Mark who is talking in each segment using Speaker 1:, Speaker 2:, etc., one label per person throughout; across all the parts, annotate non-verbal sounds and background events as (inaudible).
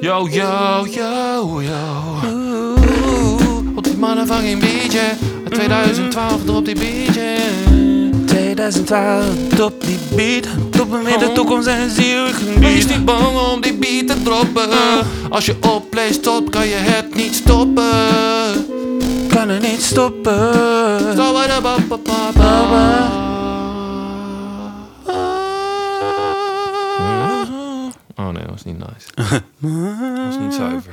Speaker 1: Yo, yo, yo, yo. Oeh, Op die mannen van geen biertje. 2012 drop die biertje.
Speaker 2: 2012, top die beat. Top me met de toekomst en zie ik
Speaker 1: Wees
Speaker 2: gebied.
Speaker 1: niet bang om die beat te droppen. Als je op play stopt, kan je het niet stoppen.
Speaker 2: Kan er niet stoppen.
Speaker 1: Zo wat ba ba ba Oh nee, dat was niet nice. Dat was niet zuiver.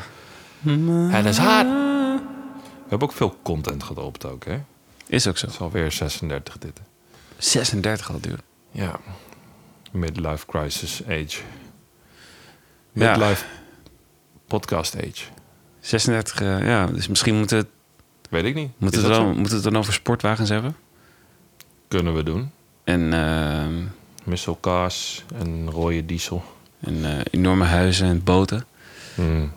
Speaker 1: Het is hard. We hebben ook veel content gedropt ook, hè? Het
Speaker 2: Is ook zo.
Speaker 1: is alweer 36 dit.
Speaker 2: 36 al, dude.
Speaker 1: Ja. Midlife crisis age.
Speaker 2: Ja.
Speaker 1: Midlife podcast age.
Speaker 2: 36, eh, ja. Dus misschien moeten we
Speaker 1: Weet ik niet.
Speaker 2: moeten
Speaker 1: Is
Speaker 2: we
Speaker 1: dat
Speaker 2: dan,
Speaker 1: zo?
Speaker 2: moeten we het dan over sportwagens hebben.
Speaker 1: Kunnen we doen.
Speaker 2: En, ehm,
Speaker 1: Misselkaas en rode diesel.
Speaker 2: en eh, enorme huizen en boten.
Speaker 1: Mm.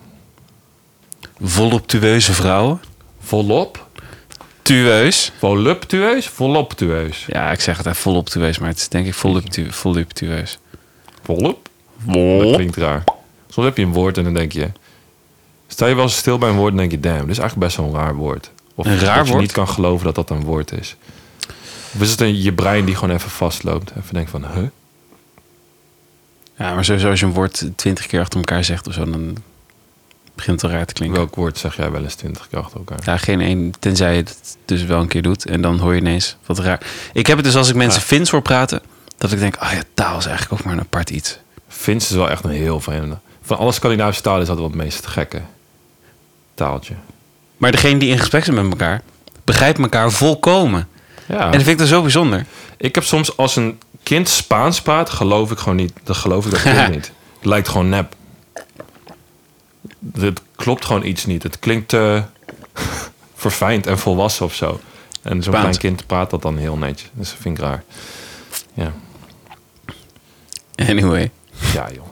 Speaker 2: Voluptueuze vrouwen.
Speaker 1: Volop.
Speaker 2: Tueus.
Speaker 1: Voluptueus? Voluptueus.
Speaker 2: Ja, ik zeg het even voluptueus, maar het is denk ik voluptu voluptueus.
Speaker 1: Volop? Dat klinkt raar. Soms heb je een woord en dan denk je... Sta je wel eens stil bij een woord en denk je... Damn, dit is eigenlijk best wel een raar woord. Of
Speaker 2: Een raar
Speaker 1: dat je
Speaker 2: woord?
Speaker 1: niet kan geloven dat dat een woord is. Of is het een, je brein die gewoon even vastloopt? Even denkt van... Huh?
Speaker 2: Ja, maar sowieso als je een woord twintig keer achter elkaar zegt of zo, dan begint het al raar te klinken.
Speaker 1: Welk woord zeg jij wel eens twintig keer achter elkaar?
Speaker 2: Ja, geen één, tenzij je het dus wel een keer doet. En dan hoor je ineens wat raar. Ik heb het dus als ik mensen Fins hoor praten, dat ik denk, ah ja, taal is eigenlijk ook maar een apart iets.
Speaker 1: Fins is wel echt een heel vervelende. Van alle Scandinavische talen is dat wel het meest gekke taaltje.
Speaker 2: Maar degene die in gesprek zijn met elkaar, begrijpt elkaar volkomen.
Speaker 1: Ja.
Speaker 2: En dat vind ik dan zo bijzonder.
Speaker 1: Ik heb soms als een kind Spaans praat, geloof ik gewoon niet. Dan geloof
Speaker 2: (laughs)
Speaker 1: ik dat kind niet. Het lijkt gewoon nep. Het klopt gewoon iets niet. Het klinkt te (laughs) verfijnd en volwassen of zo. En zo'n
Speaker 2: Spaans.
Speaker 1: klein kind praat dat dan heel netjes. Dus dat vind ik raar. Ja,
Speaker 2: Anyway,
Speaker 1: ja joh.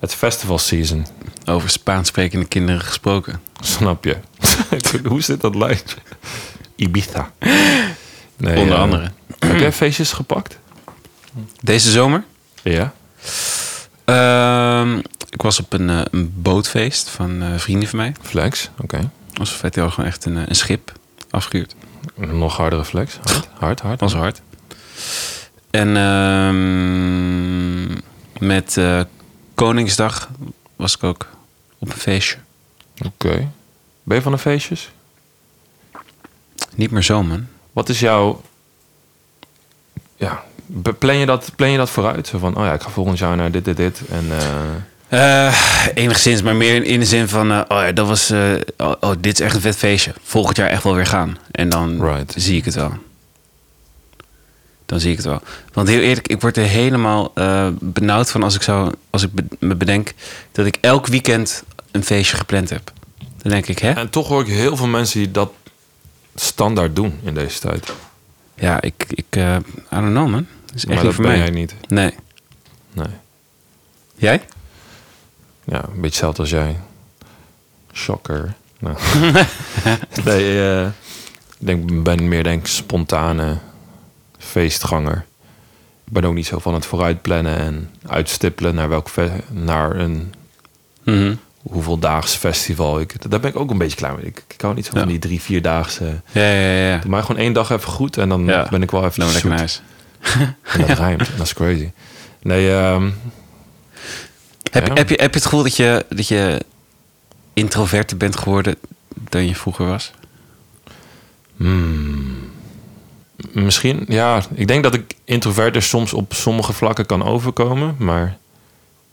Speaker 1: Het festival season.
Speaker 2: over Spaans sprekende kinderen gesproken.
Speaker 1: Snap je? (laughs) Hoe zit dat lijstje? Ibiza. Nee,
Speaker 2: Onder
Speaker 1: eh,
Speaker 2: andere.
Speaker 1: Heb jij feestjes gepakt?
Speaker 2: Deze zomer
Speaker 1: Ja.
Speaker 2: Ehm, ik was op een, eh, een bootfeest van eh, vrienden van mij.
Speaker 1: Flex. Oké.
Speaker 2: Alsof hij gewoon echt een, eh, een schip afgehuurd.
Speaker 1: Nog hardere flex. Hard, hard, hard.
Speaker 2: Dat was hard. En ehm, met eh, Koningsdag was ik ook op een feestje.
Speaker 1: Oké. Ben je van de feestjes?
Speaker 2: Niet meer zo, man.
Speaker 1: Wat is jouw... Ja, be- plan je dat, plan je dat vooruit? Zo van, oh ja, ik ga volgend jaar naar dit, dit, dit. En eh,
Speaker 2: Eh, enigszins, maar meer in, in de zin van... eh, oh ja, dat was... eh, oh, oh, dit is echt een vet feestje. Volgend jaar echt wel weer gaan. En dan
Speaker 1: Right.
Speaker 2: zie ik het wel. Dan zie ik het wel. Want heel eerlijk, ik word er helemaal eh, benauwd van... als ik, zou, als ik be- me bedenk dat ik elk weekend een feestje gepland heb. Dan denk ik, hè?
Speaker 1: en toch hoor ik heel veel mensen die dat standaard doen in deze tijd.
Speaker 2: Ja, ik... ik eh, I don't know, man. Dat is echt
Speaker 1: maar
Speaker 2: niet
Speaker 1: dat
Speaker 2: voor
Speaker 1: ben
Speaker 2: mij.
Speaker 1: jij niet.
Speaker 2: Nee.
Speaker 1: Nee.
Speaker 2: Jij?
Speaker 1: Ja, een beetje hetzelfde als jij. Shocker.
Speaker 2: (laughs)
Speaker 1: Nou. nee, eh, ik denk, ben meer denk ik spontane feestganger. Ik ben ook niet zo van het vooruitplannen en uitstippelen naar welk fe- naar een
Speaker 2: Mhm.
Speaker 1: hoeveeldaags festival. Ik, daar ben ik ook een beetje klaar mee. Ik, ik hou niet zo van
Speaker 2: Ja.
Speaker 1: die drie, vierdaagse.
Speaker 2: Ja, ja, ja. ja.
Speaker 1: Doe mij gewoon één dag even goed en dan
Speaker 2: Ja.
Speaker 1: ben ik wel even
Speaker 2: Dan lekker
Speaker 1: zoet.
Speaker 2: naar huis.
Speaker 1: En dat rijmt. Dat is crazy. Nee, ehm,
Speaker 2: Heb,
Speaker 1: Ja.
Speaker 2: heb, je, heb je het gevoel dat je, dat je introverter bent geworden dan je vroeger was?
Speaker 1: Misschien, ja. Ik denk dat ik introverter soms op sommige vlakken kan overkomen, maar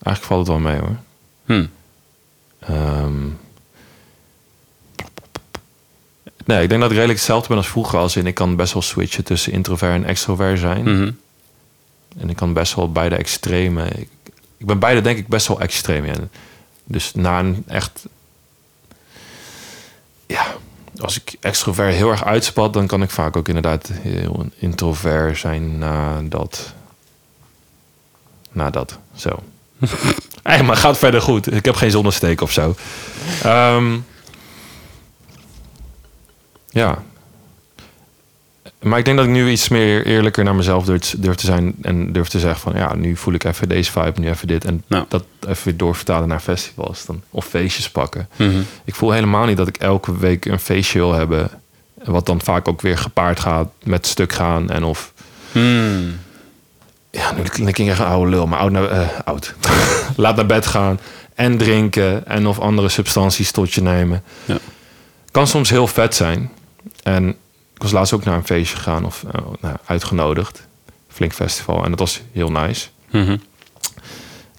Speaker 1: eigenlijk valt het wel mee hoor.
Speaker 2: Hm.
Speaker 1: Ehm, nee, ik denk dat ik redelijk hetzelfde ben als vroeger. Als in, ik kan best wel switchen tussen introvert en extrovert zijn.
Speaker 2: Mhm.
Speaker 1: En ik kan best wel beide extreme. Ik, ik ben beide denk ik best wel extreem in. Dus na een echt... Ja, als ik extrovert heel erg uitspat... dan kan ik vaak ook inderdaad heel introvert zijn na dat... Na dat, zo. (laughs) Hé, maar gaat verder goed. Ik heb geen zonnesteek of zo. Ehm, ja. Maar ik denk dat ik nu iets meer eerlijker naar mezelf durf, durf te zijn. En durf te zeggen van ja, nu voel ik even deze vibe, nu even dit. En
Speaker 2: Nou.
Speaker 1: dat even weer doorvertalen naar festivals dan, of feestjes pakken.
Speaker 2: Mhm.
Speaker 1: Ik voel helemaal niet dat ik elke week een feestje wil hebben. Wat dan vaak ook weer gepaard gaat met stuk gaan. En of.
Speaker 2: Hmm.
Speaker 1: Ja, nu klink ik echt een oude lul, maar oud. Naar, eh, oud. (laughs) Laat naar bed gaan. En drinken. En of andere substanties tot je nemen.
Speaker 2: Ja.
Speaker 1: Kan soms heel vet zijn. En ik was laatst ook naar een feestje gegaan of eh, nou, uitgenodigd. Flink festival. En dat was heel nice.
Speaker 2: Mhm.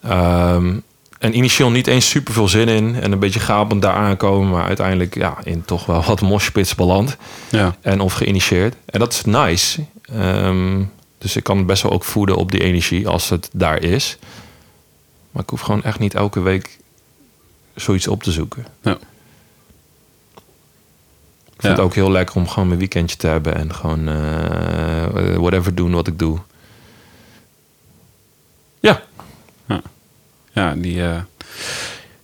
Speaker 1: Ehm, en initieel niet eens super veel zin in. En een beetje gapend daar aankomen. Maar uiteindelijk ja, in toch wel wat moshpits beland.
Speaker 2: Ja.
Speaker 1: En of geïnitieerd. En dat is nice. Ehm, dus ik kan best wel ook voeden op die energie als het daar is. Maar ik hoef gewoon echt niet elke week zoiets op te zoeken.
Speaker 2: Ja.
Speaker 1: Ik vind
Speaker 2: Ja.
Speaker 1: het ook heel lekker om gewoon mijn weekendje te hebben. En gewoon eh, whatever doen wat ik doe. Ja, (laughs)
Speaker 2: Ja, die, eh,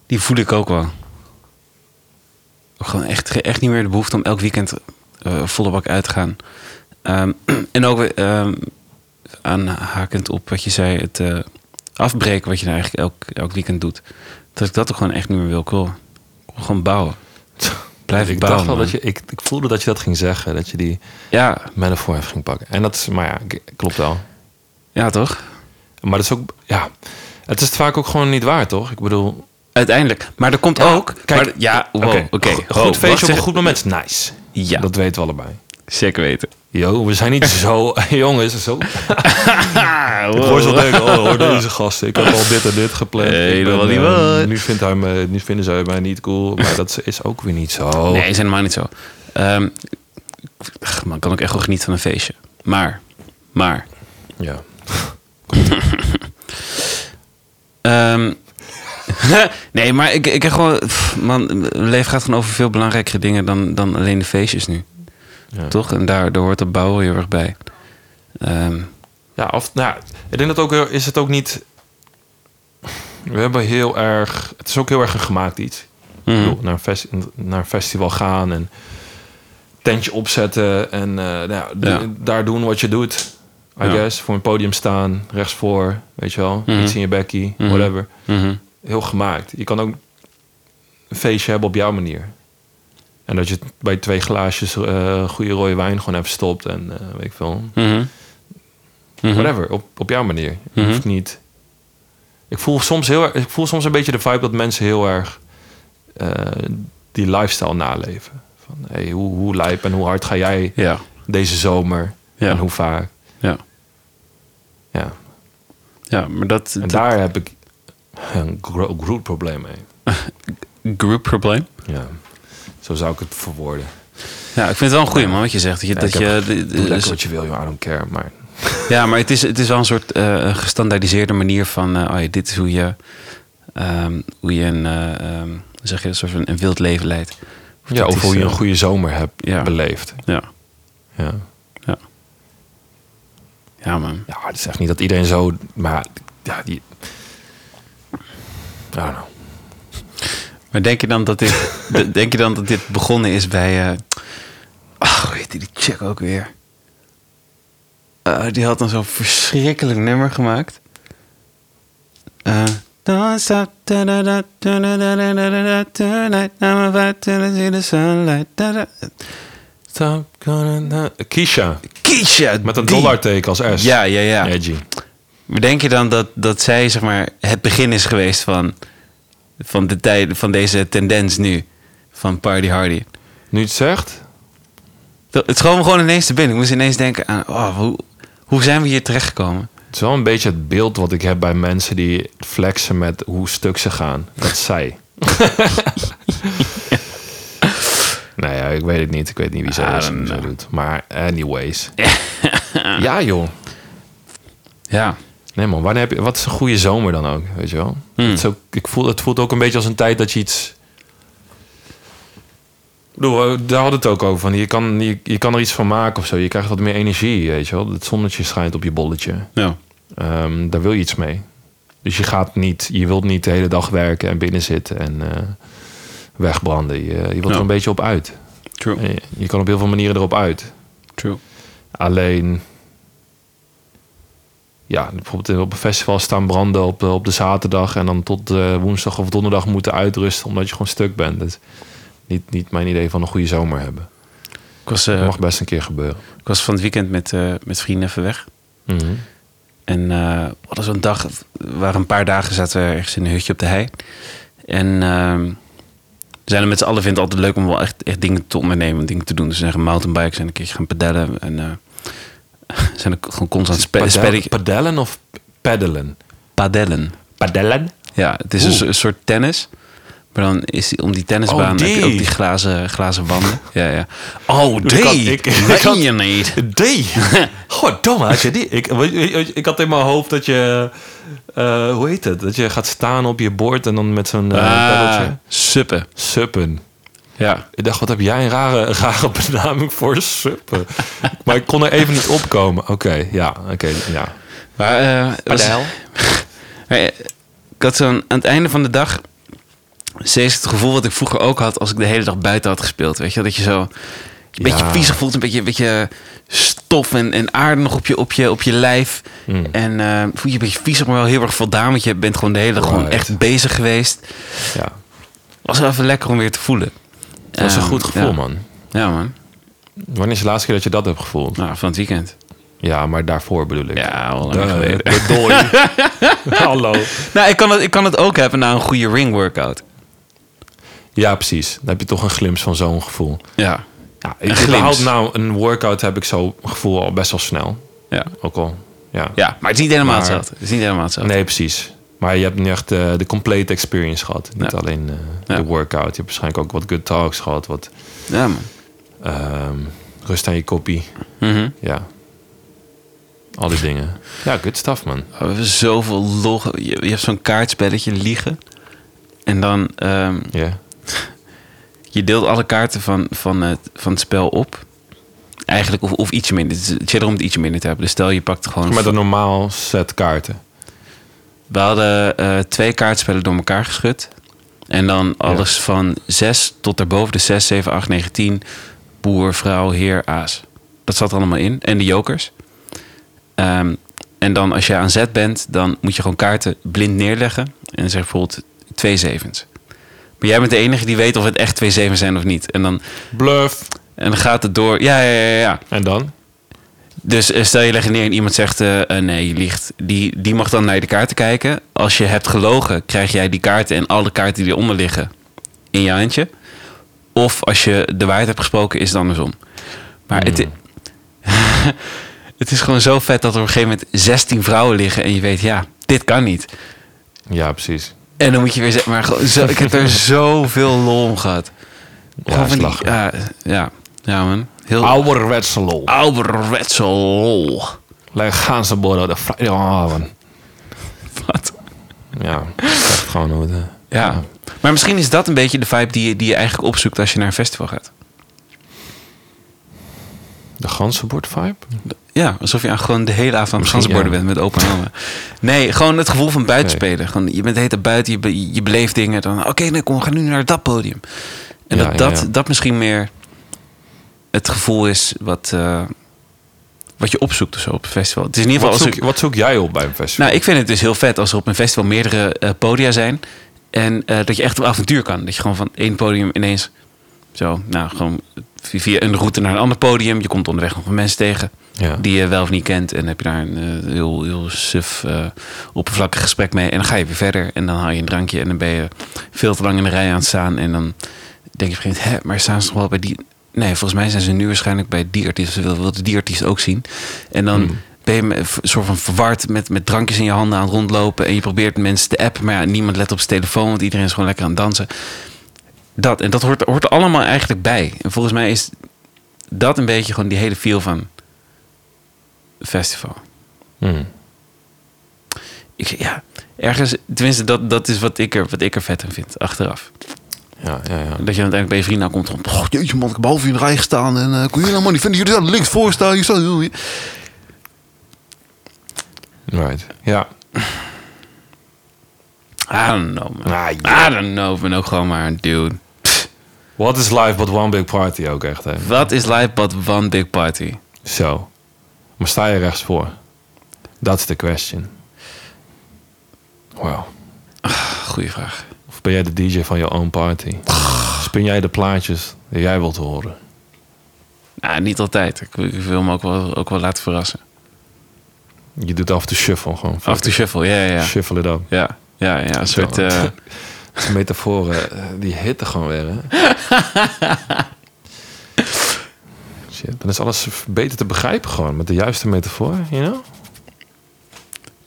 Speaker 2: die voel ik ook wel. Gewoon echt, echt niet meer de behoefte om elk weekend eh, volle bak uit te gaan. Ehm, (clears throat) en ook weer, ehm, aanhakend op wat je zei, het eh, afbreken wat je nou eigenlijk elk, elk weekend doet. Dat ik dat ook gewoon echt niet meer wil. Ik wil, ik wil gewoon bouwen. Blijf
Speaker 1: ik
Speaker 2: bouwen.
Speaker 1: dacht wel
Speaker 2: man.
Speaker 1: dat je. Ik, ik voelde dat je dat ging zeggen. Dat je die
Speaker 2: ja,
Speaker 1: metafoor even ging pakken. En dat is. Maar ja, k- klopt wel.
Speaker 2: ja, toch?
Speaker 1: Maar dat is ook. Ja. Het is het vaak ook gewoon niet waar, toch? Ik bedoel.
Speaker 2: Uiteindelijk. Maar er komt ook.
Speaker 1: Kijk, eh,
Speaker 2: maar- ja, wow,
Speaker 1: oké.
Speaker 2: oké.
Speaker 1: Go-
Speaker 2: wow,
Speaker 1: goed
Speaker 2: wacht,
Speaker 1: feestje op
Speaker 2: zeg-
Speaker 1: een goed moment is nice.
Speaker 2: Ja,
Speaker 1: Dat weten we allebei.
Speaker 2: zeker weten.
Speaker 1: Yo, we
Speaker 2: (laughs)
Speaker 1: zijn niet zo. (laughs) jongens, zo.
Speaker 2: Ah,
Speaker 1: Ik hoor ze denken, oh,
Speaker 2: (laughs)
Speaker 1: hoor deze gasten. Ik heb al dit en dit gepland.
Speaker 2: Nee,
Speaker 1: Ik ben,
Speaker 2: dat wel niet
Speaker 1: eh,
Speaker 2: waar.
Speaker 1: nu, vindt hij me, nu vinden zij mij niet cool. Maar dat is ook weer niet zo.
Speaker 2: Nee, is helemaal niet zo. Ehm, ach, man kan ook echt wel genieten van een feestje. Maar, maar.
Speaker 1: Ja.
Speaker 2: ehm, (laughs) nee, maar ik, ik heb gewoon... pff, man, mijn leven gaat gewoon over veel belangrijkere dingen dan, dan alleen de feestjes nu.
Speaker 1: Ja.
Speaker 2: Toch? En daar, daar hoort de bouw heel erg bij. Ehm,
Speaker 1: Ja, of, nou, ja, ik denk dat ook heel- is het ook niet. We hebben heel erg. Het is ook heel erg een gemaakt iets.
Speaker 2: mhm.
Speaker 1: Ik bedoel, naar, een fes- naar een festival gaan en tentje opzetten en eh, nou, ja, d-
Speaker 2: Ja.
Speaker 1: daar doen wat je doet. I
Speaker 2: Ja.
Speaker 1: guess. Voor een podium staan, rechtsvoor, weet je wel.
Speaker 2: Mhm.
Speaker 1: Iets in je bekkie,
Speaker 2: Mhm.
Speaker 1: whatever.
Speaker 2: Mhm.
Speaker 1: Heel gemaakt. Je kan ook een feestje hebben op jouw manier. En dat je t- bij twee glaasjes eh, goede rode wijn gewoon even stopt en eh, weet ik veel.
Speaker 2: Mhm. Mhm.
Speaker 1: Whatever, op, op jouw manier. Je
Speaker 2: Mhm.
Speaker 1: hoeft niet. Ik voel, soms heel, erg- ik voel soms een beetje de vibe dat mensen heel erg eh, die lifestyle naleven. Van hey, hoe, hoe lijp en hoe hard ga jij
Speaker 2: Ja,
Speaker 1: deze zomer
Speaker 2: Ja.
Speaker 1: en hoe vaak?
Speaker 2: ja,
Speaker 1: Ja.
Speaker 2: ja, maar dat...
Speaker 1: En
Speaker 2: dat
Speaker 1: daar heb ik een gro- groot probleem mee.
Speaker 2: group probleem.
Speaker 1: Ja. Zo zou ik het verwoorden.
Speaker 2: Ja, ik vind het wel een goeie man wat je zegt. Dat je... dat
Speaker 1: ik
Speaker 2: je dus- de- de-
Speaker 1: Doe lekker wat je wil, joh, I don't care. Maar
Speaker 2: Ja, maar het is, het is wel een soort eh, gestandaardiseerde manier van... eh, oh ja, dit is hoe je, ehm, hoe je een, eh, ehm, hoe zeg je, een, soort van een wild leven leidt.
Speaker 1: ja,
Speaker 2: dat
Speaker 1: of
Speaker 2: is,
Speaker 1: hoe je
Speaker 2: eh,
Speaker 1: een goede zomer hebt
Speaker 2: ja.
Speaker 1: beleefd.
Speaker 2: Ja,
Speaker 1: Ja.
Speaker 2: ja. Ja, man.
Speaker 1: Ja, het is echt niet dat iedereen zo. Maar ja, die. I don't know.
Speaker 2: Maar denk je dan dat dit, de- denk je dan dat dit begonnen is bij... eh ach, hoe heet die check ook weer? Eh, die had dan zo'n verschrikkelijk nummer gemaakt. Eh, Don't stop. da-da-da, da-da-da-da-da-da, Tonight, I'm about to see the sunlight. da-da.
Speaker 1: Stop gonna na- Keisha.
Speaker 2: Keisha.
Speaker 1: Met een
Speaker 2: die.
Speaker 1: dollarteken als S.
Speaker 2: Ja, ja, ja.
Speaker 1: Edgy.
Speaker 2: Maar denk je dan dat, dat zij zeg maar, het begin is geweest van, van, de tijd, van deze tendens nu? Van Party Hardy.
Speaker 1: Nu je het zegt.
Speaker 2: Dat- Het schoot me gewoon ineens te binnen. Ik moest ineens denken aan... Oh, hoe, hoe zijn we hier terechtgekomen?
Speaker 1: Het is wel een beetje het beeld wat ik heb bij mensen die flexen met hoe stuk ze gaan. Dat (laughs) zij. nou ja, ik weet het niet. Ik weet niet wie zij
Speaker 2: I
Speaker 1: is
Speaker 2: don't
Speaker 1: en zo
Speaker 2: know.
Speaker 1: doet. Maar (laughs) anyways. ja joh.
Speaker 2: Ja.
Speaker 1: Nee man, wanneer heb je, wat is een goede zomer dan ook, weet je wel?
Speaker 2: Hmm.
Speaker 1: Het, is ook, ik voel, het voelt ook een beetje als een tijd dat je iets... Ik bedoel, eh, daar hadden we het ook over. Van, je, kan, je, je kan er iets van maken of zo. Je krijgt wat meer energie, weet je wel. Het zonnetje schijnt op je bolletje.
Speaker 2: Ja.
Speaker 1: Ehm, daar wil je iets mee. Dus je gaat niet... Je wilt niet de hele dag werken en binnen zitten en eh, wegbranden. Je, je wilt
Speaker 2: Ja.
Speaker 1: er een beetje op uit.
Speaker 2: True.
Speaker 1: En Je, je kan op heel veel manieren erop uit.
Speaker 2: True.
Speaker 1: Alleen, ja, bijvoorbeeld op een festival staan branden op, eh, op de zaterdag en dan tot eh, woensdag of donderdag moeten uitrusten omdat je gewoon stuk bent. Dat is niet, niet mijn idee van een goede zomer hebben.
Speaker 2: Ik was, eh,
Speaker 1: Dat mag best een keer gebeuren.
Speaker 2: ik was van het weekend met, eh, met vrienden even weg.
Speaker 1: Mhm.
Speaker 2: En eh, we hadden zo'n dag, we waren een paar dagen zaten we ergens in een hutje op de hei. En ehm, we zijn er met z'n allen, vinden het altijd leuk om wel echt, echt dingen te ondernemen, dingen te doen. Dus we zijn gaan mountainbikes en een keertje gaan pedellen. En eh, (laughs) zijn ook gewoon constant spe
Speaker 1: Padel-
Speaker 2: spelletjes-
Speaker 1: Padellen of peddelen?
Speaker 2: padellen.
Speaker 1: Padellen?
Speaker 2: Ja, het is
Speaker 1: Oeh.
Speaker 2: een so- een soort tennis. Maar dan is die, om die tennisbaan
Speaker 1: Oh,
Speaker 2: heb je
Speaker 1: die.
Speaker 2: ook die glazen,
Speaker 1: (laughs)
Speaker 2: glazen wanden. ja, ja. Oh, die!
Speaker 1: kan- ik- ik
Speaker 2: Meen
Speaker 1: kan-
Speaker 2: je niet.
Speaker 1: D. Goddomme, had je die? Ik, weet- weet- weet- ik had in mijn hoofd dat je... eh, hoe heet het? Dat je gaat staan op je bord en dan met zo'n (laughs) eh
Speaker 2: Ah,
Speaker 1: peddeltje.
Speaker 2: suppen.
Speaker 1: Suppen.
Speaker 2: Ja.
Speaker 1: Ik dacht, wat heb jij een rare, een rare benaming voor suppen? maar ik kon er even niet opkomen. Oké, ja, oké, ja.
Speaker 2: Maar, eh, was- (laughs) Maar, eh, ik had zo'n, aan het einde van de dag steeds het gevoel wat ik vroeger ook had als ik de hele dag buiten had gespeeld. Weet je, dat je zo een beetje
Speaker 1: Ja.
Speaker 2: viezig voelt, een beetje, een beetje stof en, en aarde nog op je, op je, op je lijf.
Speaker 1: Mm.
Speaker 2: En eh, voel je een beetje viezig, maar wel heel erg voldaan, want je bent gewoon de hele dag gewoon
Speaker 1: Right.
Speaker 2: echt bezig geweest.
Speaker 1: ja.
Speaker 2: Was wel even lekker om weer te voelen.
Speaker 1: Dat was een
Speaker 2: Ehm,
Speaker 1: goed gevoel,
Speaker 2: ja.
Speaker 1: man.
Speaker 2: Ja man,
Speaker 1: Wanneer is de laatste keer dat je dat hebt gevoeld?
Speaker 2: nou, van het weekend.
Speaker 1: Ja, maar daarvoor bedoel ik.
Speaker 2: Ja, al lang
Speaker 1: Duh,
Speaker 2: geleden.
Speaker 1: bedoel
Speaker 2: (laughs)
Speaker 1: je. Hallo.
Speaker 2: Nou, ik kan, het, ik kan het ook hebben na een goede ring workout.
Speaker 1: Ja, precies. Dan heb je toch een glimp van zo'n gevoel.
Speaker 2: Ja,
Speaker 1: Ja,
Speaker 2: Een
Speaker 1: ik
Speaker 2: glimp.
Speaker 1: überhaupt nou een workout heb ik zo'n gevoel al best wel snel.
Speaker 2: ja.
Speaker 1: Ook al, ja.
Speaker 2: ja maar het is niet helemaal
Speaker 1: Maar-
Speaker 2: hetzelfde. Het is niet helemaal hetzelfde.
Speaker 1: Nee, precies. Maar je hebt nu echt eh, de complete experience gehad. Niet
Speaker 2: Ja.
Speaker 1: alleen eh,
Speaker 2: Ja.
Speaker 1: de workout. Je hebt waarschijnlijk ook wat good talks gehad. Wat
Speaker 2: Ja man.
Speaker 1: ehm, rust aan je koppie.
Speaker 2: Mhm.
Speaker 1: Ja. Al die dingen. Ja, good stuff, man.
Speaker 2: We hebben zoveel log. Je, je hebt zo'n kaartspelletje liegen. En dan ehm,
Speaker 1: Ja.
Speaker 2: je deelt alle kaarten van, van, het, van het spel op. Eigenlijk, of, of iets minder. Het is chiller om het ietsje minder te hebben. Dus stel je pakt gewoon.
Speaker 1: Met een normaal set kaarten.
Speaker 2: We hadden eh, twee kaartspellen door elkaar geschud. En dan alles van 6 tot daarboven de 6, 7, 8, 9, 10. Boer, vrouw, heer, aas. Dat zat er allemaal in. En de jokers. Ehm, en dan als je aan zet bent, dan moet je gewoon kaarten blind neerleggen. En dan zeg je bijvoorbeeld twee zevens. Maar jij bent de enige die weet of het echt twee zevens zijn of niet. En dan,
Speaker 1: Bluff.
Speaker 2: en dan gaat het door. Ja, ja, ja, ja.
Speaker 1: En dan?
Speaker 2: Dus eh, stel je legt het neer en iemand zegt: eh, eh, nee, je liegt. Die, die mag dan naar de kaarten kijken. Als je hebt gelogen, krijg jij die kaarten en alle kaarten die eronder liggen in je handje. Of als je de waarheid hebt gesproken, is het andersom. Maar het, (laughs) het is gewoon zo vet dat er op een gegeven moment 16 vrouwen liggen en je weet: ja, dit kan niet.
Speaker 1: Ja, precies.
Speaker 2: En dan moet je weer zeggen: maar gewoon zo, ik heb er zoveel lol om gehad. Gewoon van die-
Speaker 1: slag.
Speaker 2: ja, ja, ja, man. Heel
Speaker 1: Ouderwetse lol.
Speaker 2: ouderwetse lol. (laughs)
Speaker 1: Lekker gaan ze borrelen. de vrijdagavond.
Speaker 2: Wat?
Speaker 1: Ja, echt gewoon hoe het, eh,
Speaker 2: Ja. Maar misschien is dat een beetje de vibe die je, die je eigenlijk opzoekt als je naar een festival gaat.
Speaker 1: De ganzenbord vibe?
Speaker 2: Ja, alsof je aan gewoon de hele avond aan het
Speaker 1: Misschien,
Speaker 2: ganzenborden
Speaker 1: ja.
Speaker 2: bent met open handen. Nee, gewoon het gevoel van buiten spelen. Gewoon, je bent de hele tijd buiten, je, be- je beleeft dingen. Dan, oké, nee, kom, we gaan nu naar dat podium. En
Speaker 1: Ja,
Speaker 2: dat,
Speaker 1: ja,
Speaker 2: dat,
Speaker 1: ja.
Speaker 2: dat misschien meer het gevoel is wat, eh, wat je opzoekt of zo op een festival. Het is in ieder geval...
Speaker 1: Wat
Speaker 2: als
Speaker 1: zoek,
Speaker 2: ik-
Speaker 1: wat zoek jij op bij een festival?
Speaker 2: Nou, ik vind het dus heel vet als er op een festival meerdere eh, podia zijn. En eh, dat je echt op avontuur kan. Dat je gewoon van één podium ineens zo, nou, gewoon via een route naar een ander podium. Je komt onderweg nog wat mensen tegen
Speaker 1: ja.
Speaker 2: die je wel of niet kent. En dan heb je daar een eh, heel, heel suf, eh, oppervlakkig gesprek mee. En dan ga je weer verder. En dan haal je een drankje. En dan ben je veel te lang in de rij aan het staan. En dan denk je op een gegeven moment, hè, maar staan ze nog wel bij die... Nee, volgens mij zijn ze nu waarschijnlijk bij die artiest. Ze wil- wilden die artiest ook zien. En dan ben je me- v- soort van verward met, met drankjes in je handen aan het rondlopen. En je probeert mensen te appen. Maar ja, niemand let op zijn telefoon. Want iedereen is gewoon lekker aan het dansen. Dat, en dat hoort, hoort er allemaal eigenlijk bij. En volgens mij is dat een beetje gewoon die hele feel van festival.
Speaker 1: Hmm.
Speaker 2: Ik, ja, ergens, tenminste, dat, dat is wat ik, er, wat ik er vet aan vind, achteraf.
Speaker 1: Ja, ja, ja.
Speaker 2: Dat je uiteindelijk bij je vrienden aan komt van... "Goh,
Speaker 3: Jeetje man, ik heb half uur in de rij gestaan en eh, kon je nou maar niet vinden. Jullie staan links voor staan, jullie staan...
Speaker 1: Right. Ja.
Speaker 2: I don't know, man.
Speaker 1: Ah,
Speaker 2: I don't know, ik ben ook gewoon maar een dude.
Speaker 1: What is life but one big party ook echt, hè?
Speaker 2: Wat is life but one big party?
Speaker 1: Zo. Maar sta je rechts voor? That's the question. Wow.
Speaker 2: Goeie vraag.
Speaker 1: Of ben jij de DJ van je own party? Spin jij de plaatjes die jij wilt horen?
Speaker 2: Nou, niet altijd. Ik, ik wil me ook wel, ook wel laten verrassen.
Speaker 1: Je doet af de shuffle gewoon.
Speaker 2: Af de shuffle, ja, ja, ja.
Speaker 1: Shuffle it up.
Speaker 2: Ja, ja, ja. Een soort...
Speaker 1: Zo.
Speaker 2: eh,
Speaker 1: Die metaforen, eh, die hitte gewoon weer, hè? (laughs) Shit, dan is alles beter te begrijpen gewoon. Met de juiste metafoor, you know?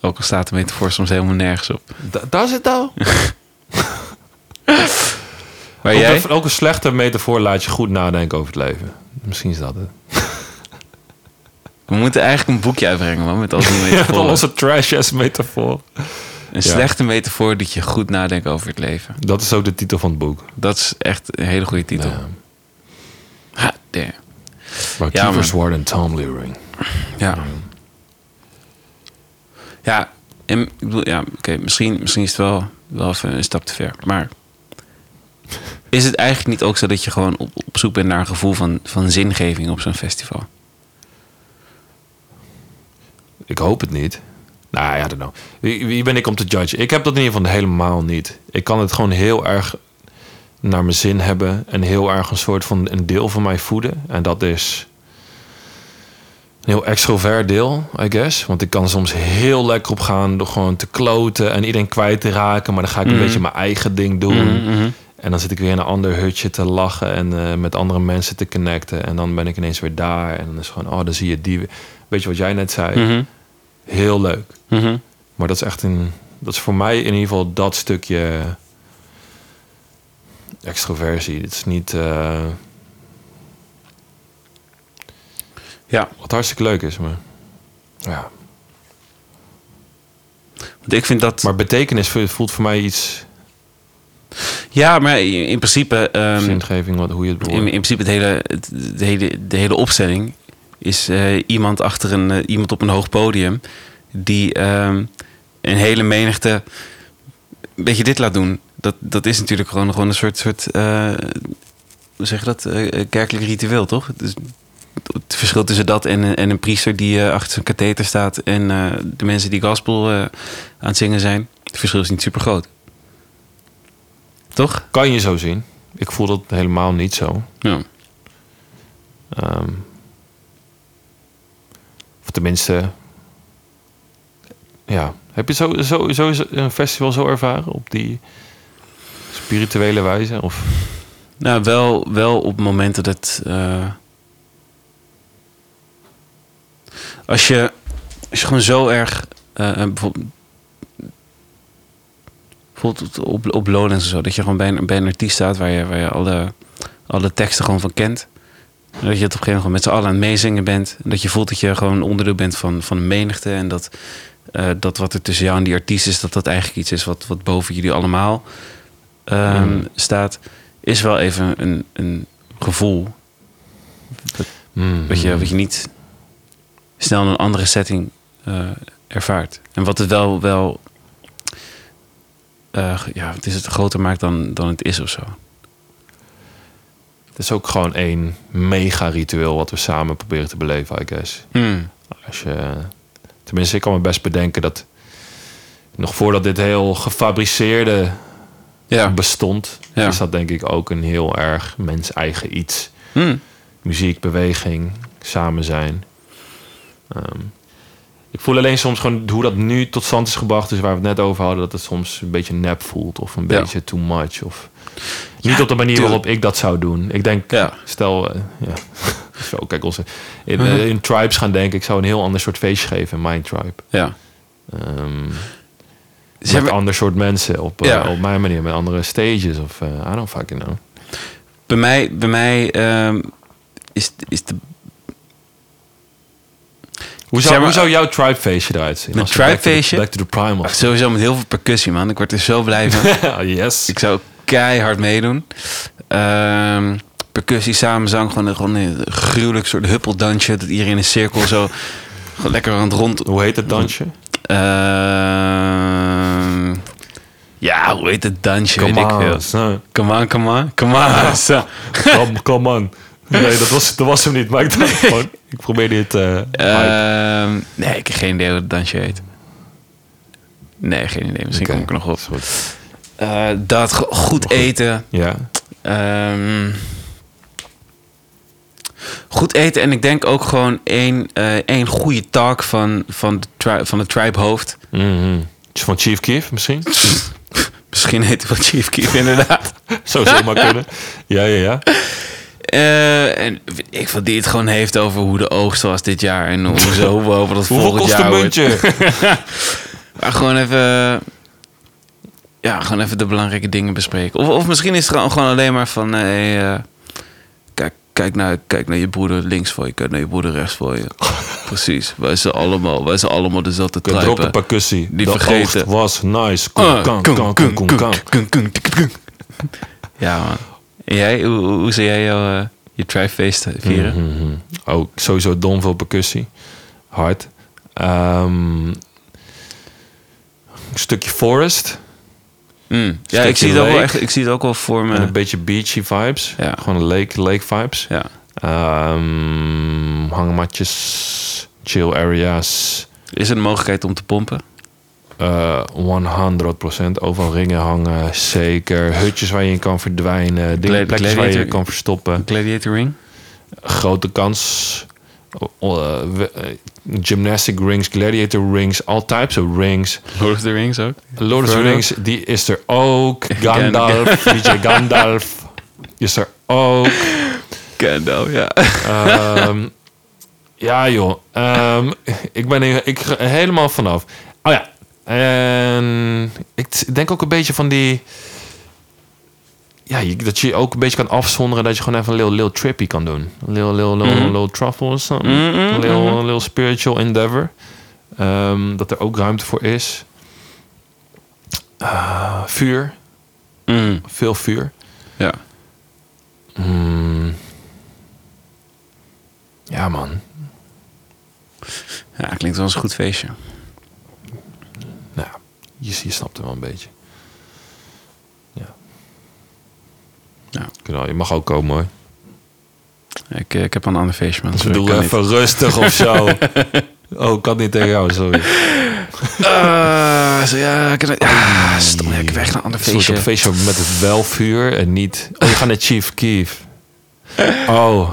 Speaker 2: ook al staat de metafoor soms helemaal nergens op.
Speaker 1: Da- Daar zit nou.
Speaker 2: Maar
Speaker 1: Ook
Speaker 2: jij?
Speaker 1: een- Ook een slechte metafoor laat je goed nadenken over het leven. Misschien is dat het.
Speaker 2: We moeten eigenlijk een boekje uitbrengen, man. Met al die
Speaker 1: (laughs) Ja,
Speaker 2: metaforen.
Speaker 1: dan onze trash-ass metafoor.
Speaker 2: Een slechte metafoor dat je goed nadenkt over het leven.
Speaker 1: Dat is ook de titel van het boek.
Speaker 2: Dat is echt een hele goede titel.
Speaker 1: Ja.
Speaker 2: Ha, damn.
Speaker 1: Waar
Speaker 2: Ja,
Speaker 1: Kiefer
Speaker 2: man.
Speaker 1: Zwart en Tom Leering.
Speaker 2: Ja. Ja, en, ik bedoel, ja, oké, misschien, misschien is het wel, wel even een stap te ver. Maar is het eigenlijk niet ook zo dat je gewoon op, op zoek bent naar een gevoel van, van zingeving op zo'n festival?
Speaker 1: Ik hoop het niet. Nou, ja, don't know. Wie, wie ben ik om te judgen? Ik heb dat in ieder geval helemaal niet. Ik kan het gewoon heel erg naar mijn zin hebben. En heel erg een soort van een deel van mij voeden. En dat is een heel extrovert deel, I guess. Want ik kan soms heel lekker op gaan door gewoon te kloten en iedereen kwijt te raken. Maar dan ga ik een beetje mijn eigen ding doen.
Speaker 2: Mhm,
Speaker 1: En dan zit ik weer in een ander hutje te lachen en eh, met andere mensen te connecten. En dan ben ik ineens weer daar. En dan is het gewoon, oh, dan zie je die. weer. Weet je wat jij net zei?
Speaker 2: Mhm,
Speaker 1: Heel leuk.
Speaker 2: mhm.
Speaker 1: Maar dat is echt een. Dat is voor mij in ieder geval dat stukje. extroversie. Het is niet. eh,
Speaker 2: Ja,
Speaker 1: wat hartstikke leuk is, maar. Ja.
Speaker 2: want ik vind dat...
Speaker 1: Maar betekenis vo- voelt voor mij iets.
Speaker 2: ja, maar in in principe... ehm,
Speaker 1: zingeving, wat, hoe je het
Speaker 2: in, in
Speaker 1: behoort.
Speaker 2: principe het hele, het, de, hele, de hele opstelling is eh, iemand achter een eh, iemand op een hoog podium die ehm, een hele menigte een beetje dit laat doen. Dat, dat is natuurlijk gewoon, gewoon een soort, soort eh, hoe zeg je dat, Eh, eh, kerkelijk ritueel, toch? Dus het verschil tussen dat en, een- en een priester die eh, achter zijn katheter staat en eh, de mensen die gospel eh, aan het zingen zijn. Het verschil is niet super groot. Toch?
Speaker 1: Kan je zo zien? Ik voel dat helemaal niet zo.
Speaker 2: Ja.
Speaker 1: Ehm, of tenminste. Ja. Heb je zo, zo, zo een festival zo ervaren? Op die spirituele wijze? Of.
Speaker 2: Nou, wel, wel op momenten dat. eh, als, je, als je gewoon zo erg. eh, eh, bijvoorbeeld, bijvoorbeeld op, op Lowlands en zo. Dat je gewoon bij een, bij een artiest staat waar je, waar je alle, alle teksten gewoon van kent. En dat je het op een gegeven moment gewoon met z'n allen aan het meezingen bent. En dat je voelt dat je gewoon onderdeel bent van, van een menigte. En dat, eh, dat wat er tussen jou en die artiest is, dat dat eigenlijk iets is wat, wat boven jullie allemaal ehm,
Speaker 1: Mm.
Speaker 2: staat. Is wel even een, een gevoel
Speaker 1: Hmm.
Speaker 2: wat je, wat je niet snel in een andere setting eh, ervaart. En wat het wel, wel eh, ja, het is het groter maakt dan, dan het is of zo.
Speaker 1: Het is ook gewoon één mega ritueel wat we samen proberen te beleven, I guess.
Speaker 2: Hmm.
Speaker 1: Als je, tenminste, ik kan me best bedenken dat nog voordat dit heel gefabriceerde
Speaker 2: Ja.
Speaker 1: bestond,
Speaker 2: Ja.
Speaker 1: is dat denk ik ook een heel erg mens-eigen iets.
Speaker 2: Hmm.
Speaker 1: Muziek, beweging, samen zijn. Ehm, ik voel alleen soms gewoon hoe dat nu tot stand is gebracht, dus waar we het net over hadden, dat het soms een beetje nep voelt of een
Speaker 2: Ja.
Speaker 1: beetje too much. Of, niet op de manier
Speaker 2: tuurlijk.
Speaker 1: waarop ik dat zou doen. Ik denk,
Speaker 2: Ja. Mhm.
Speaker 1: Stel, eh, ja. (laughs) Zo, kijk, onze, in, eh, in tribes gaan denken. Ik zou een heel ander soort feestje geven in mijn tribe.
Speaker 2: Ja.
Speaker 1: Ehm
Speaker 2: Ze
Speaker 1: met
Speaker 2: hebben-
Speaker 1: ander soort mensen op, eh,
Speaker 2: Ja.
Speaker 1: op mijn manier. Met andere stages of eh I don't fucking know.
Speaker 2: Bij mij, bij mij ehm, is, is de
Speaker 1: Hoe
Speaker 2: Zeg
Speaker 1: zou,
Speaker 2: maar-
Speaker 1: hoe zou jouw tribe feestje eruit zien?
Speaker 2: Mijn
Speaker 1: Als we back to the-
Speaker 2: tribefeestje?
Speaker 1: Back to the primal.
Speaker 2: sowieso met heel veel percussie, man. Ik word er zo blij (laughs) van.
Speaker 1: yes.
Speaker 2: Ik zou keihard meedoen. Ehm, percussie, samenzang, gewoon, een- gewoon een gruwelijk soort huppeldansje. Dat iedereen in een cirkel zo gewoon lekker aan het rond...
Speaker 1: Hoe heet het dansje?
Speaker 2: Ehm, ja,
Speaker 1: Ah,
Speaker 2: hoe heet het dansje? weet ik veel.
Speaker 1: on. son. Ah,
Speaker 2: Come on, come on, come on. Ah, Zo.
Speaker 1: Come, come on. Nee, dat was, dat was hem niet. Maar ik dacht gewoon, ik probeer dit... eh, hype.
Speaker 2: Ehm, nee, ik heb geen idee hoe het dansje heet. Nee, geen idee. Misschien
Speaker 1: Oké.
Speaker 2: kom ik er nog op.
Speaker 1: Is goed.
Speaker 2: Eh, dat go- goed eten.
Speaker 1: Ja,
Speaker 2: Ehm, goed eten en ik denk ook gewoon één, eh, één goede talk van, van, de tri- van het tribe hoofd.
Speaker 1: Mhm.
Speaker 2: Mm-hmm.
Speaker 1: Iets Van Chief Keef misschien?
Speaker 2: Misschien heet hij wel Chief Keef inderdaad.
Speaker 1: Zou
Speaker 2: (laughs)
Speaker 1: zomaar kunnen. Ja, ja, ja.
Speaker 2: Eh, en ik vind die het gewoon heeft over hoe de oogst was dit jaar en hoe zo we hopen dat het
Speaker 1: Hoeveel
Speaker 2: volgend
Speaker 1: kost
Speaker 2: jaar
Speaker 1: een
Speaker 2: wordt. (laughs)
Speaker 1: muntje?
Speaker 2: Maar gewoon even. Ja, gewoon even de belangrijke dingen bespreken. Of, of misschien is het gewoon gewoon alleen maar van. hey, eh, kijk, kijk, naar, kijk naar je broeder links voor je, kijk naar je broeder rechts voor je. Precies. Wij zijn allemaal, wij zijn allemaal dezelfde
Speaker 1: Drop de
Speaker 2: tribe.
Speaker 1: percussie.
Speaker 2: Die
Speaker 1: dat
Speaker 2: vergeten.
Speaker 1: oogst was nice. Kom,
Speaker 2: Ah,
Speaker 1: kan,
Speaker 2: kung,
Speaker 1: kan,
Speaker 2: kung,
Speaker 1: kan,
Speaker 2: kung,
Speaker 1: kan.
Speaker 2: kung, kung, tik, kung. Ja, man. En jij, hoe, hoe hoe zie jij jou, eh, je tribefeest vieren?
Speaker 1: Mhm. Oh, sowieso dom veel percussie. Hard. Ehm, een stukje forest.
Speaker 2: Mm. Ja,
Speaker 1: Stukje
Speaker 2: ik zie, het ook wel
Speaker 1: lake.
Speaker 2: echt, ik zie het ook wel voor
Speaker 1: En een
Speaker 2: me.
Speaker 1: beetje beachy vibes.
Speaker 2: Ja.
Speaker 1: Gewoon lake, lake vibes.
Speaker 2: Ja.
Speaker 1: Ehm, hangmatjes, chill areas.
Speaker 2: Is er een mogelijkheid om te pompen?
Speaker 1: Eh, 100% overal ringen hangen, zeker. Hutjes waar je in kan verdwijnen, dingen, plekjes
Speaker 2: Glad-
Speaker 1: waar je je
Speaker 2: gladiator-
Speaker 1: kan verstoppen.
Speaker 2: Gladiator ring?
Speaker 1: Grote kans. Oh, eh, we- eh, gymnastic rings, gladiator rings, all types of rings.
Speaker 2: Lord of the Rings ook?
Speaker 1: Lord of the
Speaker 2: Frodo?
Speaker 1: Rings, die is er
Speaker 2: (laughs)
Speaker 1: ook. Gandalf, DJ Gandalf is er ook.
Speaker 2: Gandalf, (laughs) ja.
Speaker 1: Ehm, (laughs) ja, joh. Ehm, (laughs) ik ben er ik, ga er helemaal vanaf. Oh ja. En ik t- denk ook een beetje van die... Ja, je- dat je je ook een beetje kan afzonderen. Dat je gewoon even een little, little trippy kan doen. Een little, little, little, little truffle of something. Een little, little spiritual endeavor. Ehm, dat er ook ruimte voor is. Ah, vuur.
Speaker 2: Mm.
Speaker 1: Veel vuur.
Speaker 2: Ja.
Speaker 1: Mm. Ja, man.
Speaker 2: ja, klinkt wel eens een goed feestje.
Speaker 1: Nou, ja, je, je snapt hem wel een beetje. Ja.
Speaker 2: Ja.
Speaker 1: Knal, je mag ook komen hoor.
Speaker 2: Ik, eh, ik heb al een ander feestje, man. Sorry, ik
Speaker 1: Doe
Speaker 2: kan
Speaker 1: even rustig of zo.
Speaker 2: (laughs)
Speaker 1: oh, ik kan niet tegen jou, sorry.
Speaker 2: niet. Eh, zo, ja, ik kan- ah, stom, ja, ik heb echt een ander
Speaker 1: Een soort
Speaker 2: feestje.
Speaker 1: feestje met het welvuur en niet... Oh, je gaat naar Chief Keef. Oh.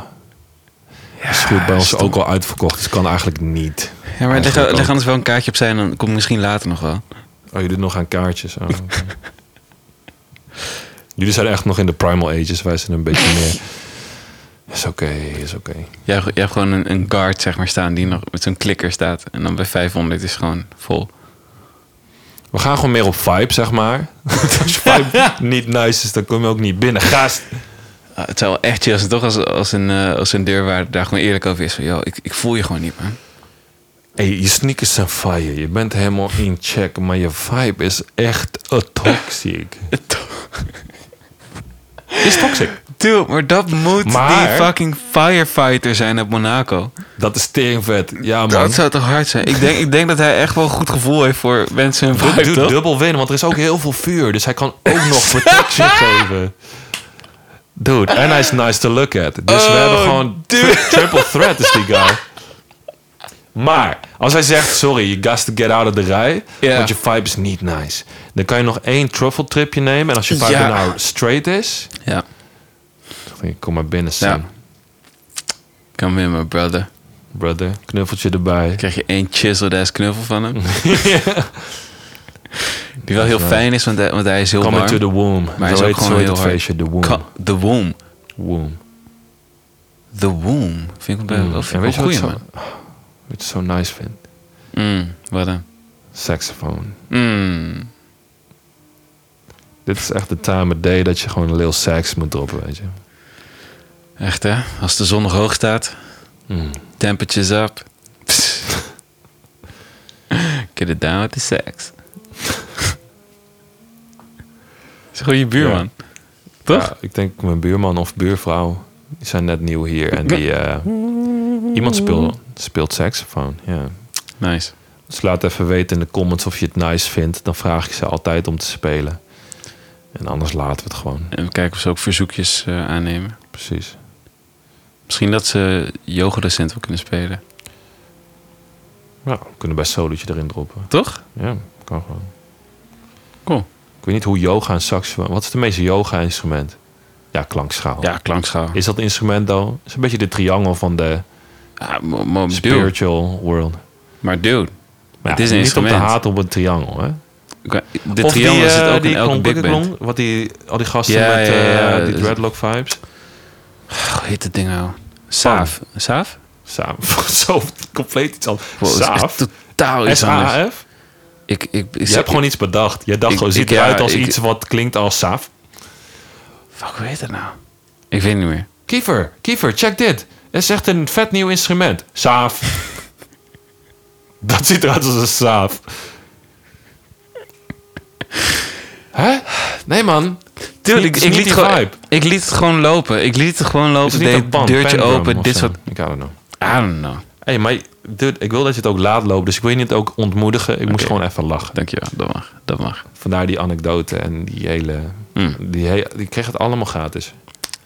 Speaker 1: is goed, bij ons ook al uitverkocht. Dus kan eigenlijk niet.
Speaker 2: Ja, maar leg,
Speaker 1: Eigenlijk ook.
Speaker 2: leg anders dus wel een kaartje opzij en dan kom ik misschien later nog wel.
Speaker 1: Oh, je doet nog aan kaartjes.
Speaker 2: (laughs)
Speaker 1: Oh, oké. Jullie zijn echt nog in de primal ages. Wij zijn een beetje meer... Is oké, is oké.
Speaker 2: Jij, hebt- jij hebt gewoon een, een guard, zeg maar, staan die nog met zo'n klikker staat. En dan bij 500 is het gewoon vol.
Speaker 1: We gaan gewoon meer op vibe, zeg maar. (laughs) Als je vibe niet nice is, dan kom je ook niet binnen. Gast.
Speaker 2: Ah, het zou wel echt chill zijn, toch? Als, als een, eh, als een deurwaarder daar gewoon eerlijk over is. Van, yo, ik, ik voel je gewoon niet, man.
Speaker 1: Hey, je sneakers zijn fire. Je bent helemaal in check. Maar je vibe is echt eh, toxic.
Speaker 2: (laughs)
Speaker 1: Is toxic.
Speaker 2: Dude, maar dat moet
Speaker 1: Maar-
Speaker 2: die fucking firefighter zijn op Monaco.
Speaker 1: Dat is teringvet. Ja, man.
Speaker 2: Dat zou toch hard zijn? Ik denk, ik denk dat hij echt wel een goed gevoel heeft voor mensen hun
Speaker 1: Doe-
Speaker 2: vibe,
Speaker 1: doe
Speaker 2: toch?
Speaker 1: dubbel winnen, want er is ook heel veel vuur. Dus hij kan ook
Speaker 2: (laughs)
Speaker 1: nog protection geven. Dude, en hij is nice to look at. Dus we
Speaker 2: Oh,
Speaker 1: hebben gewoon tri- triple threat is die guy. Maar, als hij zegt, sorry, you got to get out of the rij.
Speaker 2: Ja.
Speaker 1: Want je vibe is niet nice. Dan kan je nog één truffle tripje nemen. En als je vibe
Speaker 2: Ja.
Speaker 1: nou straight is,
Speaker 2: Ja.
Speaker 1: dan denk ik, kom maar binnen, son.
Speaker 2: ja. Come in, my brother.
Speaker 1: Brother, knuffeltje
Speaker 2: (laughs)
Speaker 1: erbij.
Speaker 2: Krijg je één chiseled ass knuffel
Speaker 1: (laughs)
Speaker 2: van hem. Die wel heel fijn is, want hij, want hij is heel
Speaker 1: Come
Speaker 2: warm.
Speaker 1: into the womb.
Speaker 2: maar hij is
Speaker 1: Zo
Speaker 2: ook
Speaker 1: heet, zo
Speaker 2: gewoon
Speaker 1: heet
Speaker 2: heel
Speaker 1: het
Speaker 2: hard.
Speaker 1: feestje, de womb.
Speaker 2: Ka- the womb.
Speaker 1: womb.
Speaker 2: The womb. Vind ik wel,
Speaker 1: Mm.
Speaker 2: wel-
Speaker 1: En
Speaker 2: vind
Speaker 1: weet
Speaker 2: ik
Speaker 1: je
Speaker 2: wel
Speaker 1: wat ik
Speaker 2: goed,
Speaker 1: zo- Ah,
Speaker 2: man.
Speaker 1: weet je wat ik zo nice vind?
Speaker 2: Mm, wat dan?
Speaker 1: Saxofoon.
Speaker 2: Mm.
Speaker 1: Dit is echt de time of day dat je gewoon een lil sax moet droppen, weet je.
Speaker 2: Echt, hè? Als de zon nog hoog staat.
Speaker 1: Hmm.
Speaker 2: Temperatures up. Psst. Get it down with the
Speaker 1: (laughs)
Speaker 2: sex. is gewoon je buurman. (laughs) Toch?
Speaker 1: Ja, ik denk mijn buurman of buurvrouw, die zijn net nieuw hier. En die, eh, iemand speelt, speelt saxofoon, ja.
Speaker 2: Nice.
Speaker 1: Dus laat even weten in de comments of je het nice vindt. Dan vraag ik ze altijd om te spelen. En anders laten we het gewoon,
Speaker 2: En we kijken of ze ook verzoekjes eh, aannemen.
Speaker 1: precies.
Speaker 2: Misschien dat ze yoga-docent wel kunnen spelen.
Speaker 1: Ja, we kunnen best een solootje erin droppen.
Speaker 2: Toch?
Speaker 1: Ja, kan gewoon.
Speaker 2: Cool.
Speaker 1: Ik weet niet hoe yoga en saxofoon... Wat is de meeste yoga-instrument? Ja, klankschaal.
Speaker 2: Ja, klankschaal.
Speaker 1: Is dat instrument dan? Is een beetje de triangel van de
Speaker 2: Ja, Ah, mo- mo- dude.
Speaker 1: spiritual world.
Speaker 2: Maar dude.
Speaker 1: Maar
Speaker 2: Het
Speaker 1: ja,
Speaker 2: is een
Speaker 1: niet
Speaker 2: instrument.
Speaker 1: om te haten op een triangel, hè?
Speaker 2: ik- De
Speaker 1: Of
Speaker 2: triangel
Speaker 1: die,
Speaker 2: zit
Speaker 1: eh,
Speaker 2: ook
Speaker 1: die
Speaker 2: in elke
Speaker 1: klonk-
Speaker 2: big band.
Speaker 1: klonk- Wat die, al die gasten
Speaker 2: Ja,
Speaker 1: met
Speaker 2: ja,
Speaker 1: eh,
Speaker 2: ja, dus- ja.
Speaker 1: die dreadlock vibes.
Speaker 2: Goh, heet het ding nou? Saaf. Saaf?
Speaker 1: Samen. (laughs) Zo compleet iets anders.
Speaker 2: Wow, het is echt
Speaker 1: Saaf.
Speaker 2: totaal iets anders.
Speaker 1: S-A-F?
Speaker 2: Ik, ik, ik,
Speaker 1: Je hebt gewoon iets bedacht. Je dacht
Speaker 2: ik-
Speaker 1: gewoon,
Speaker 2: ik-
Speaker 1: ziet eruit
Speaker 2: ja,
Speaker 1: als
Speaker 2: ik-
Speaker 1: iets wat klinkt als Saaf.
Speaker 2: Fuck, hoe heet het nou? Ik weet het niet meer.
Speaker 1: Kiefer, Kiefer, check dit. Het is echt een vet nieuw instrument. Saaf. (laughs) Dat ziet eruit als een saaf. Hè? Nee, man.
Speaker 2: Dude,
Speaker 1: Het
Speaker 2: ik,
Speaker 1: is
Speaker 2: ik,
Speaker 1: niet
Speaker 2: liet
Speaker 1: die
Speaker 2: gewoon,
Speaker 1: vibe.
Speaker 2: ik liet het gewoon lopen. Ik liet het gewoon
Speaker 1: Het
Speaker 2: lopen.
Speaker 1: is niet
Speaker 2: Deed
Speaker 1: een pan,
Speaker 2: het deurtje
Speaker 1: pandrum
Speaker 2: open.
Speaker 1: of
Speaker 2: Dit
Speaker 1: zo.
Speaker 2: soort...
Speaker 1: Ik hou er nog.
Speaker 2: I don't know.
Speaker 1: Hé, maar dude, ik wil dat je het ook laat loopt. Dus ik wil je niet ook ontmoedigen. Ik moest
Speaker 2: Oké.
Speaker 1: gewoon even lachen.
Speaker 2: Dankjewel. Dat mag. Dat mag.
Speaker 1: Vandaar die anekdote en die hele...
Speaker 2: Mm.
Speaker 1: Die, he- die kreeg het allemaal gratis.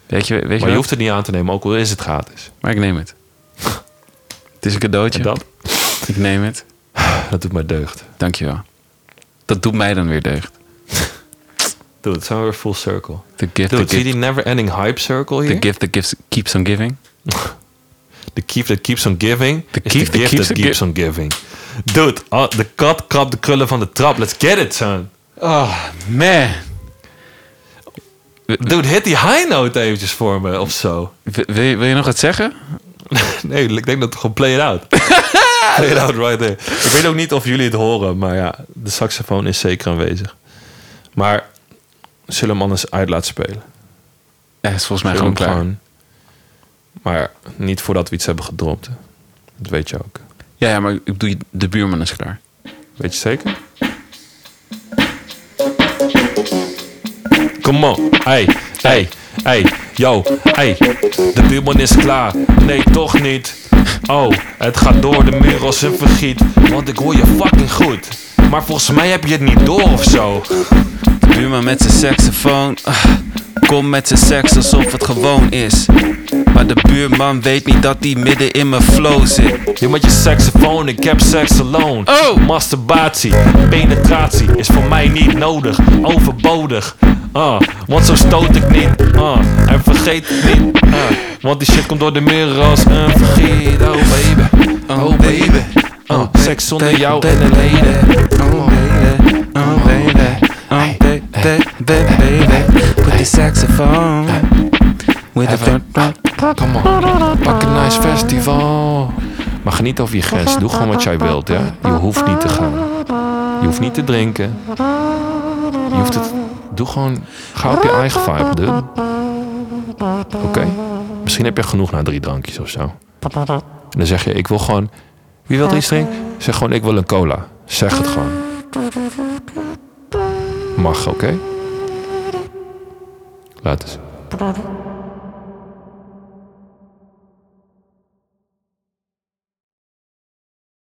Speaker 2: Weet je, weet je,
Speaker 1: Maar je
Speaker 2: wat?
Speaker 1: hoeft het niet aan te nemen, ook al is het gratis.
Speaker 2: Maar ik
Speaker 1: (laughs)
Speaker 2: neem het. Het is een cadeautje.
Speaker 1: En dat,
Speaker 2: Ik neem het.
Speaker 1: dat doet mij deugd.
Speaker 2: Dankjewel. Dat doet mij dan weer deugd.
Speaker 1: Dude, het zijn we weer full circle.
Speaker 2: The gift,
Speaker 1: Dude,
Speaker 2: the,
Speaker 1: zie je
Speaker 2: gift,
Speaker 1: die never ending hype circle
Speaker 2: the
Speaker 1: hier?
Speaker 2: gift that gives, keeps on giving.
Speaker 1: The gift that keeps on giving.
Speaker 2: The
Speaker 1: is
Speaker 2: gift
Speaker 1: the
Speaker 2: that
Speaker 1: gift
Speaker 2: keeps
Speaker 1: that
Speaker 2: on
Speaker 1: keeps
Speaker 2: gi-
Speaker 1: on giving. Dude, ah, de kat krabt de krullen van de trap. Let's get it, son.
Speaker 2: Oh, man.
Speaker 1: Dude, hit die high note eventjes voor me of zo. (laughs)
Speaker 2: W- wil, je, wil je nog wat zeggen?
Speaker 1: Nee, ik denk dat het gewoon play it
Speaker 2: (laughs)
Speaker 1: out. play it out right there. Ik weet ook niet of jullie het horen, maar ja, de saxofoon is zeker aanwezig. Maar zullen we hem anders uit laten spelen?
Speaker 2: Ja, is volgens mij
Speaker 1: Zullen
Speaker 2: gewoon
Speaker 1: we hem
Speaker 2: klaar.
Speaker 1: Maar niet voordat we iets hebben gedropt. Dat weet je ook.
Speaker 2: Ja, ja, maar ik bedoel, de buurman is klaar.
Speaker 1: Weet je zeker? Kom on, hey, hey, hey, yo, hey. De buurman is klaar, nee toch niet. Oh, het gaat door de muur als een vergiet, want ik hoor je fucking goed. Maar volgens mij heb je het niet door of zo.
Speaker 2: De buurman met zijn saxofoon. Ah, Kom met zijn sax alsof het gewoon is. Maar de buurman weet niet dat hij midden in mijn flow zit.
Speaker 1: Je met je saxofoon, ik heb seks alone.
Speaker 2: Oh!
Speaker 1: Masturbatie, penetratie is voor mij niet nodig, overbodig. Ah, want zo stoot ik niet. Ah, en vergeet het niet. Ah, want die shit komt door de muren als een vergiet. Oh baby,
Speaker 2: Oh baby.
Speaker 1: Ah,
Speaker 2: Oh,
Speaker 1: seks zonder jou en de
Speaker 2: baby.
Speaker 1: leden.
Speaker 2: Oh baby. Oh baby. Oh baby. baby. With the saxophone. With the front front.
Speaker 1: Come on, pak een nice festival. Maar geniet over je grens, doe gewoon wat jij wilt, ja. Je hoeft niet te gaan. Je hoeft niet te drinken. Je hoeft het... Doe gewoon... Ga op je eigen vibe, dude. Oké. Misschien heb je genoeg na drie drankjes of zo. En dan zeg je, ik wil gewoon... Wie wil er iets drinken? Zeg gewoon, ik wil een cola. Zeg het gewoon. Mag, oké? Laat eens.
Speaker 4: Thank